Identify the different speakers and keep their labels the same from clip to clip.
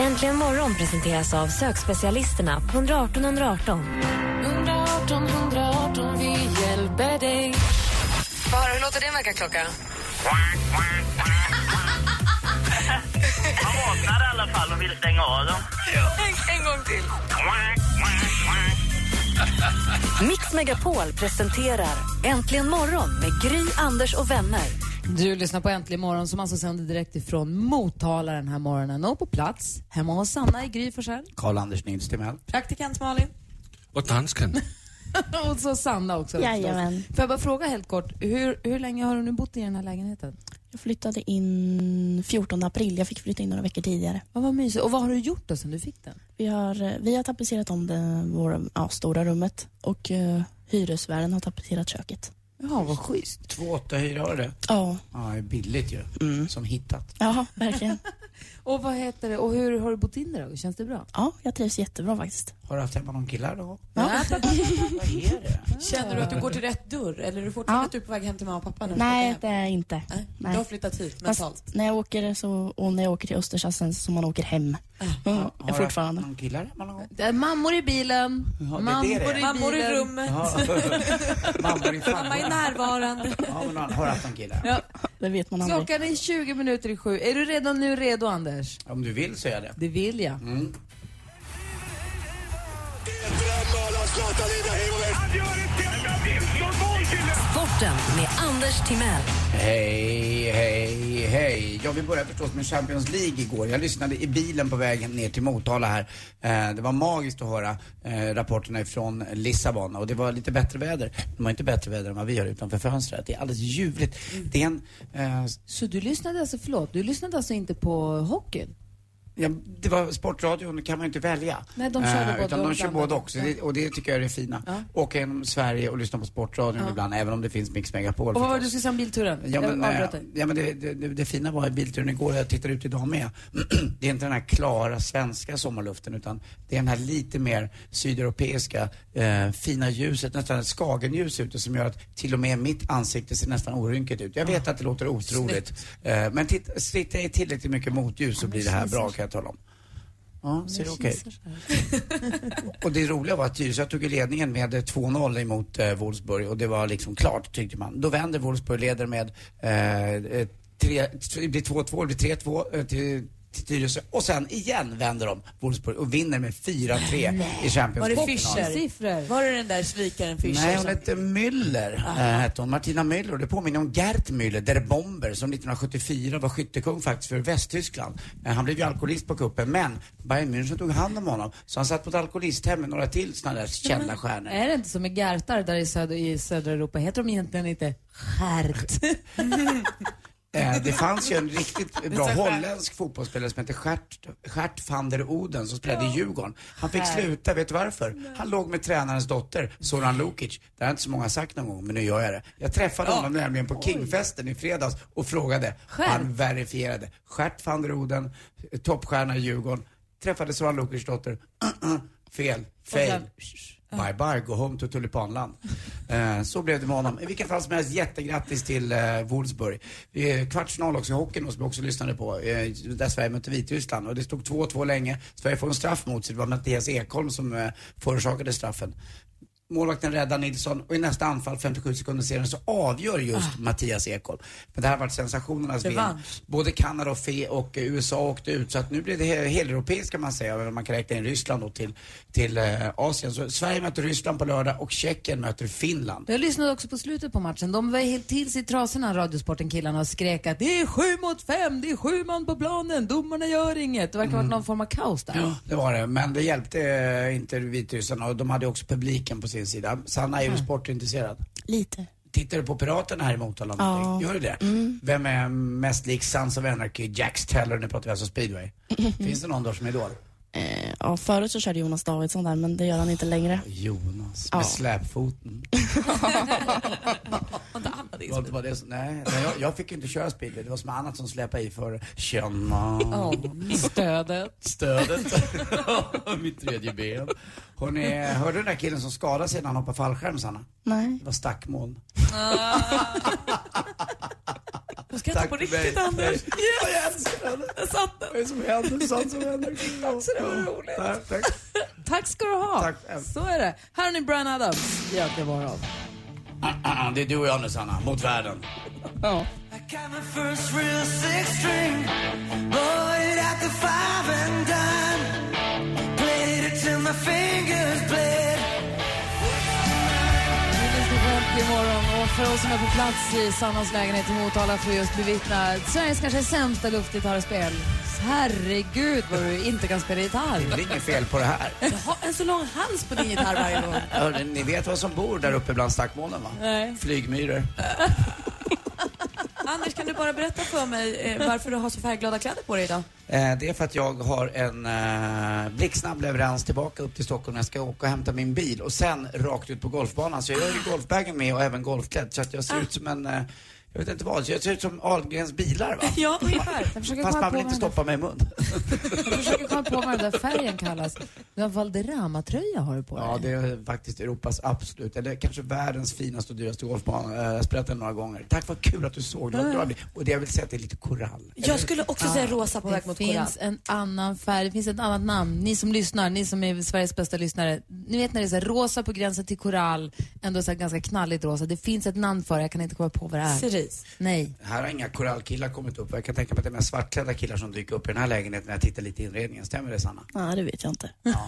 Speaker 1: Äntligen morgon presenteras av sökspecialisterna på 118 118.
Speaker 2: 118 118, vi hjälper dig
Speaker 3: Bara, hur låter din väckarklocka?
Speaker 4: Man vaknar i alla fall och vill stänga av dem.
Speaker 3: En, en gång till.
Speaker 1: Mix Megapol presenterar Äntligen morgon med Gry, Anders och vänner.
Speaker 5: Du lyssnar på Äntligen morgon som alltså sänder direkt ifrån Motala den här morgonen och på plats hemma hos Sanna i Gry Forssell.
Speaker 6: Karl-Anders Nils Timell.
Speaker 5: Praktikant Malin.
Speaker 7: Och dansken.
Speaker 5: och så Sanna också förstås.
Speaker 8: Jajamän.
Speaker 5: Får jag bara fråga helt kort, hur, hur länge har du nu bott i den här lägenheten?
Speaker 8: Jag flyttade in 14 april. Jag fick flytta in några veckor tidigare.
Speaker 5: Ja, vad mysigt. Och vad har du gjort då sen du fick den?
Speaker 8: Vi har, eh, vi har tapetserat om det våra, ja, stora rummet och uh, hyresvärden har tapetserat köket.
Speaker 5: Ja, vad schysst.
Speaker 6: Två åtta hyra har du
Speaker 8: Ja,
Speaker 6: Ja, det är billigt ju. Som hittat.
Speaker 8: ja verkligen.
Speaker 5: Och vad heter det, och hur har du bott in det då? Känns det bra?
Speaker 8: ja, jag trivs jättebra faktiskt.
Speaker 6: Har du haft hemma någon killar då?
Speaker 5: Ja.
Speaker 6: Vad är det?
Speaker 9: Känner du att du går till rätt dörr eller är du fortfarande
Speaker 8: Ja.
Speaker 9: att du är på väg hem till mamma och pappa nu?
Speaker 8: Nej, det
Speaker 9: det...
Speaker 8: är jag inte.
Speaker 9: Du har flyttat hit mentalt.
Speaker 8: Fast när jag åker, så, och när jag åker till Östersund som man åker hem. Mm,
Speaker 6: Har du
Speaker 8: fortfarande.
Speaker 6: haft någon killar hemma någon gång?
Speaker 5: Det är mammor i bilen.
Speaker 6: det är
Speaker 5: mammor
Speaker 6: det det är.
Speaker 5: i
Speaker 9: Mammor i
Speaker 5: bilen.
Speaker 9: rummet,
Speaker 6: Ja. Mamma är fan.
Speaker 9: mamma är närvarande.
Speaker 6: Ja, men har har du haft någon killar?
Speaker 5: Ja.
Speaker 8: Det vet man aldrig.
Speaker 5: Klockan är 20 minuter i sju. Är du redan nu redo, Anders?
Speaker 6: Om du vill så är jag det.
Speaker 5: Det vill jag.
Speaker 1: Sporten med Anders Timell.
Speaker 6: Hej, hej, hej. Ja, vi började förstås med Champions League igår. Jag lyssnade i bilen på vägen ner till Motala här. Eh, det var magiskt att höra eh, rapporterna ifrån Lissabon och det var lite bättre väder. De har inte bättre väder än vad vi har utanför fönstret. Det är alldeles ljuvligt. Det är en... Eh,
Speaker 5: Så du lyssnade alltså, förlåt, du lyssnade alltså inte på hockeyn?
Speaker 6: Ja, det var sportradion, kan man ju inte välja. Eh,
Speaker 5: Nej, de körde både
Speaker 6: utan
Speaker 5: och
Speaker 6: de kör
Speaker 5: blandade.
Speaker 6: både också. Det, och det tycker jag är det fina.
Speaker 5: Ja.
Speaker 6: Åka genom Sverige och lyssna på sportradion ibland, även om det finns Mix Megapol
Speaker 5: Och vad var det du
Speaker 6: förstås.
Speaker 5: skulle säga om bilturen?
Speaker 6: Ja men,
Speaker 5: jag
Speaker 6: eh,
Speaker 5: avbröt dig.
Speaker 6: ja, men det, det, det, det fina var i bilturen igår, jag tittar ut idag med, det är inte den här klara svenska sommarluften utan det är den här lite mer sydeuropeiska eh, fina ljuset, nästan ett skagenljus ute som gör att till och med mitt ansikte ser nästan orynkigt ut. Jag vet att det låter otroligt eh, men titt- sitter jag i tillräckligt mycket motljus så blir det här bra kan jag tala om. Ja, ser det okej ut? Och det roliga var att Tyresö tog ju ledningen med eh, 2-0 emot eh, Wolfsburg och det var liksom klart tyckte man. Då vänder Wolfsburg, leder med eh, eh, tre, t- det blir 2-2, det blir 3-2 eh, till, till Tyresö och sen igen vänder de Wolfsburg och vinner med 4-3 i Champions
Speaker 9: Var det
Speaker 6: League-finalen.
Speaker 9: Fischer?
Speaker 5: Siffror.
Speaker 9: Var det den där svikaren Fischer?
Speaker 6: Nej, hon
Speaker 9: som-
Speaker 6: hette Müller. eh, hette hon, Martina Müller. Och det påminner om Gert Müller, Der Bomber, som 1974 var skyttekung faktiskt för Västtyskland. Eh, han blev ju alkoholist på kuppen, men Bayern München tog hand om honom. Så han satt på ett alkoholisthem med några till sådana där kända
Speaker 9: eh,
Speaker 6: stjärnor.
Speaker 5: Är det inte som med gärtar där i södra, i södra Europa? Heter de egentligen inte skärt?
Speaker 6: Eh, det fanns ju en riktigt bra holländsk fotbollsspelare som hette Gert, Gert van der Oden som spelade i Djurgården. Han fick sluta, vet du varför? Han låg med tränarens dotter, Zoran Lukic. Det har inte så många sagt någon gång, men nu gör jag det. Jag träffade honom nämligen på Kingfesten i fredags och frågade. Han verifierade. Gert van der Oden, eh, toppstjärna i Djurgården. Träffade Zoran Lukics dotter. Fel. Fail. Bye bye, go home to tulipanland. Eh, så blev det med honom. I vilket fall som helst, jättegrattis till eh, Wolfsburg. Det är kvartsfinal också i hockeyn då, som jag också lyssnade på, eh, där Sverige mötte Vitryssland. Och det stod 2-2 länge. Sverige får en straff mot sig. Det var Mattias Ekholm som eh, förorsakade straffen. Målvakten räddar Nilsson och i nästa anfall, 57 sekunder senare, så avgör just Mattias Ekholm. Men det här har varit sensationernas VM.
Speaker 9: Revansch.
Speaker 6: Både Kanada och Fe och eh, USA åkte ut så att nu blir det he- heleuropeiskt kan man säga. Även om Man kan räkna in Ryssland då till, till eh, Asien. Så Sverige möter Ryssland på lördag och Tjeckien möter Finland.
Speaker 5: Jag lyssnade också på slutet på matchen. De var helt till sig i trasorna, Radiosporten-killarna, och skrek att det är sju mot fem, det är sju man på planen, domarna gör inget. Det verkar ha varit någon form av kaos där.
Speaker 6: Ja, det var det. Men det hjälpte eh, inte Vitryssarna och de hade också publiken på sin sida. Sanna, är du sportintresserad?
Speaker 8: Lite.
Speaker 6: Tittar du på Piraterna här i Motala? Ja. Mm. Gör du det? Vem är mest lik Sons of Anarchy, Jax Teller, nu pratar vi alltså speedway. Finns det någon då som är idol?
Speaker 8: Eh, ja, förut så körde Jonas Davidsson där, men det gör han inte längre.
Speaker 6: Jonas,
Speaker 8: Ja.
Speaker 6: med släpfoten. Var det- var det så- Nej, nej, jag, jag fick ju inte köra speedway. Det var som annat som släpade i för Tjena.
Speaker 5: Stödet.
Speaker 6: Stödet. Mitt tredje ben. Hörrni, hörde du den där killen som skadade sig när han hoppade fallskärm, Sanna?
Speaker 8: Nej.
Speaker 6: Det var stackmoln. Ah.
Speaker 9: Du skrattar på
Speaker 6: för
Speaker 9: riktigt
Speaker 6: mig.
Speaker 9: Anders.
Speaker 6: Nej. Jag älskar henne.
Speaker 9: Där satt den.
Speaker 6: Vad är det som händer? Sånt som händer. Tack, det var roligt. Tack, tack.
Speaker 5: Tack ska du ha.
Speaker 6: Tack.
Speaker 5: Så är det. Här har ni Brian Adams. Ja, det var av.
Speaker 6: Ah, ah, ah, Det är du och jag nu, Sanna. Mot världen.
Speaker 5: Ja. Vi lyssnar på Äntligen morgon och för oss som är på plats i Sannas lägenhet i Motala för att just bevittna Sveriges kanske sämsta luftgitarrspel. Herregud vad du inte kan spela gitarr.
Speaker 6: Det är inget fel på det här.
Speaker 9: Du har en så lång hals på din gitarr varje gång.
Speaker 6: Hörrni, ni vet vad som bor där uppe bland stackmolnen, va?
Speaker 9: Nej.
Speaker 6: Flygmyror.
Speaker 9: Anders, kan du bara berätta för mig eh, varför du har så färgglada kläder på dig idag?
Speaker 6: Eh, Det är för att jag har en eh, blixtsnabb leverans tillbaka upp till Stockholm. Jag ska åka och hämta min bil och sen rakt ut på golfbanan. Så jag har ju golfbagen med och även golfklädd. Så att
Speaker 5: Ah.
Speaker 6: jag ser ut som en, eh, jag vet inte vad, jag ser ut som Ahlgrens bilar va?
Speaker 9: Ja, ungefär.
Speaker 5: Jag försöker
Speaker 6: Fast
Speaker 5: komma
Speaker 6: man
Speaker 5: på
Speaker 6: vill
Speaker 5: vad
Speaker 6: inte
Speaker 5: den där-
Speaker 6: stoppa mig i mun.
Speaker 5: jag försöker komma på vad den där färgen kallas. Du har Valderrama-tröja har du på dig.
Speaker 6: Ja, det är faktiskt Europas absolut, eller kanske världens finaste och dyraste golfbana. Eh, Jag har spelat den några gånger. Tack, vad kul att du såg det. Vad
Speaker 5: Ah.
Speaker 6: bra det blev. Och det jag vill säga att det är lite korall.
Speaker 9: Jag skulle också säga rosa på väg
Speaker 5: Det
Speaker 9: mot korall.
Speaker 5: finns en annan färg, det finns ett annat namn. Ni som lyssnar, ni som är Sveriges bästa lyssnare. Ni vet när det är så här rosa på gränsen till korall, ändå så här ganska knalligt rosa. Det finns ett namn för det, jag kan inte komma på vad det är.
Speaker 9: Cerise.
Speaker 5: Nej.
Speaker 6: Här har inga korallkillar kommit upp. Jag kan tänka mig att det är mer svartklädda killar som dyker upp i den här lägenheten när jag tittar lite i inredningen. Stämmer det Sanna?
Speaker 8: Nej, det vet jag inte.
Speaker 9: Mm.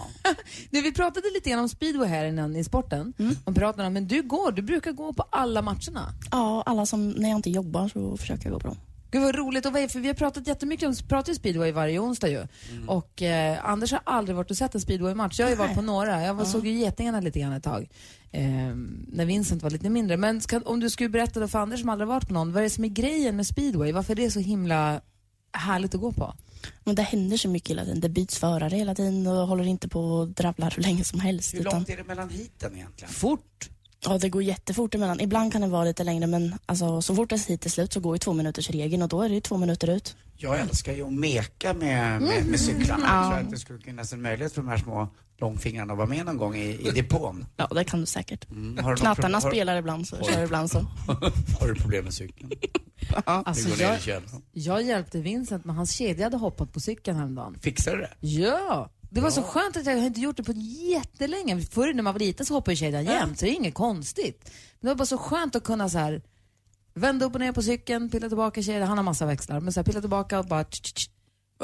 Speaker 5: Du, vi pratade lite grann om speedway här innan i sporten.
Speaker 9: Mm.
Speaker 5: Man pratar om, men du går, du brukar gå på alla matcherna.
Speaker 8: Ja, alla som, när jag inte jobbar så försöker jag gå på dem.
Speaker 5: Gud vad roligt, och vad är, för vi har pratat jättemycket om pratar ju speedway varje onsdag ju.
Speaker 6: Mm.
Speaker 5: Och eh, Anders har aldrig varit och sett en speedwaymatch. Jag har ju varit på några, jag var, såg ju Getingarna lite grann ett tag. Eh, när Vincent var lite mindre. Men ska, om du skulle berätta då för Anders som aldrig varit på någon, vad är det som är grejen med speedway? Varför är det så himla härligt att gå på?
Speaker 8: Men det händer så mycket hela tiden. Det byts förare hela tiden och håller inte på och drabblar hur länge som helst.
Speaker 6: Hur
Speaker 8: Utan,
Speaker 6: långt är det mellan hiten egentligen?
Speaker 5: Fort.
Speaker 8: ja, det går jättefort emellan. Ibland kan det vara lite längre men alltså, så fort ens hit är slut så går ju två minuters regeln och då är det ju två minuter ut.
Speaker 6: Jag älskar ju att meka med, med,
Speaker 5: Mm.
Speaker 6: med cyklarna. Jag tror att det skulle finnas en möjlighet för de här små långfingrarna att vara med någon gång i, i depån.
Speaker 8: Ja, det kan du säkert.
Speaker 6: Mm, har du något
Speaker 8: Knattarna
Speaker 6: pro- har-
Speaker 8: spelar ibland så
Speaker 6: Oj.
Speaker 8: kör ibland så.
Speaker 6: Har du problem med cykeln?
Speaker 5: Alltså,
Speaker 6: det går ner
Speaker 5: jag,
Speaker 6: i källaren.
Speaker 5: jag hjälpte Vincent när hans kedja hade hoppat på cykeln häromdagen.
Speaker 6: Fixar du det?
Speaker 5: Ja, det var så skönt att jag inte gjort det på jättelänge. Förr när man var liten så hoppade ju kedjan jämt, så det är inget konstigt. Men det var bara så skönt att kunna så här vända upp och ner på cykeln, pilla tillbaka kedjan, han har massa växlar, men så här, pilla tillbaka och bara tsch, tsch, tsch.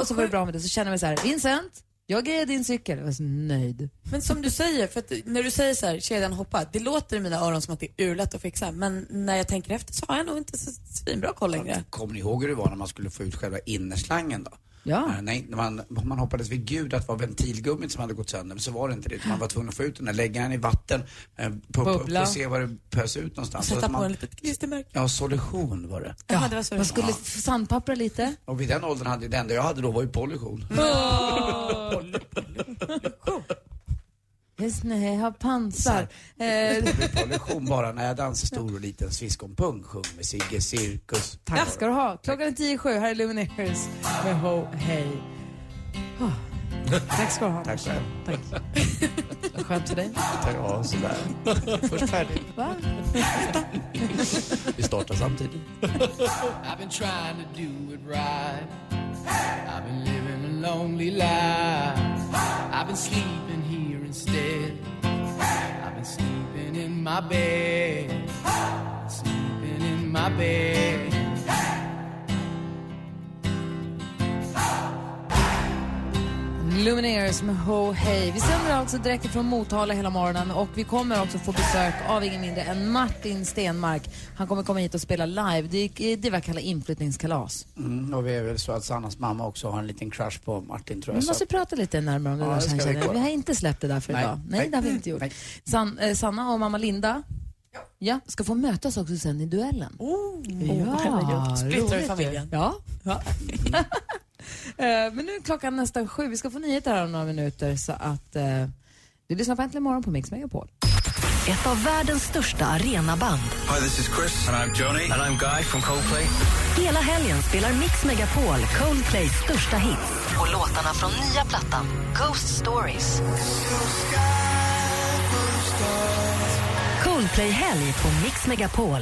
Speaker 5: Och så var det bra med det. Så känner jag mig så här, Vincent, jag grejade din cykel. Jag var så nöjd.
Speaker 9: Men som du säger, för att när du säger så här, kedjan hoppa, det låter i mina öron som att det är urlätt att fixa, men när jag tänker efter så har jag nog inte så svinbra koll längre.
Speaker 6: Kommer ni ihåg hur det var när man skulle få ut själva innerslangen då?
Speaker 5: Ja.
Speaker 6: Äh, Nej, när man, man hoppades vid gud att det var ventilgummit som hade gått sönder, men så var det inte det. utan Man var tvungen att få ut den där, lägga den i vatten, eh, pumpa upp
Speaker 5: Bubbla.
Speaker 6: och se var det pös ut någonstans. Så
Speaker 9: Sätta
Speaker 6: att
Speaker 9: på en
Speaker 6: man,
Speaker 9: litet klistermärke.
Speaker 6: ja, solution var det.
Speaker 9: Ja, det var så det
Speaker 5: Man
Speaker 9: var.
Speaker 5: skulle f- sandpappra lite.
Speaker 6: Och vid den åldern hade det enda jag hade då var ju pollution.
Speaker 5: Just nu, jag har pansar. Eh,
Speaker 6: pollution bara när jag dansade stor och liten sviskompung sjöng med Sigge Cirkus.
Speaker 5: Tack ska du ha. Klockan är tio i sju. Här är Lumineers med Ho Hey. Ah. Tack ska du ha.
Speaker 6: Tack själv.
Speaker 5: Tack. Skönt för dig.
Speaker 6: Tack, ja, sådär. Först färdig.
Speaker 5: Va?
Speaker 6: Vi startar samtidigt.
Speaker 7: I've been trying to do it right. I've been living a lonely life. I've been sleeping here instead. I've been sleeping in my bed. Sleeping in my bed.
Speaker 5: Lumineers med Ho Hey. Vi sänder alltså direkt från Motala hela morgonen och vi kommer också få besök av ingen mindre än Martin Stenmark. Han kommer komma hit och spela live. Det är det vi kallar inflyttningskalas.
Speaker 6: Mm, och vi är väl så att Sannas mamma också har en liten crush på Martin tror jag.
Speaker 5: Vi måste
Speaker 6: Så.
Speaker 5: prata lite närmare om det
Speaker 6: Ja,
Speaker 5: där
Speaker 6: det
Speaker 5: sen.
Speaker 6: ska vi
Speaker 5: känner jag. Vi
Speaker 6: kolla.
Speaker 5: har inte släppt det där för
Speaker 6: Nej,
Speaker 5: idag. Nej,
Speaker 6: nej,
Speaker 5: det har vi inte gjort.
Speaker 6: nej.
Speaker 5: San, eh, Sanna och mamma Linda ja, ska få mötas också sen i duellen. Oh, ja,
Speaker 8: herregud.
Speaker 9: Splittrar i
Speaker 5: roligt ju.
Speaker 9: familjen.
Speaker 5: Ja. Eh, Men nu är klockan nästan sju. Vi ska få nyheter här om några minuter. Så att eh, du lyssnar på Äntligen morgon på Mix Megapol.
Speaker 1: Ett av världens största arenaband.
Speaker 10: Hi, this is Chris. And I'm Johnny. And I'm Guy from Coldplay.
Speaker 1: Hela helgen spelar Mix Megapol Coldplays största hits. Och låtarna från nya plattan Ghost Stories. Coldplay-helg på Mix Megapol.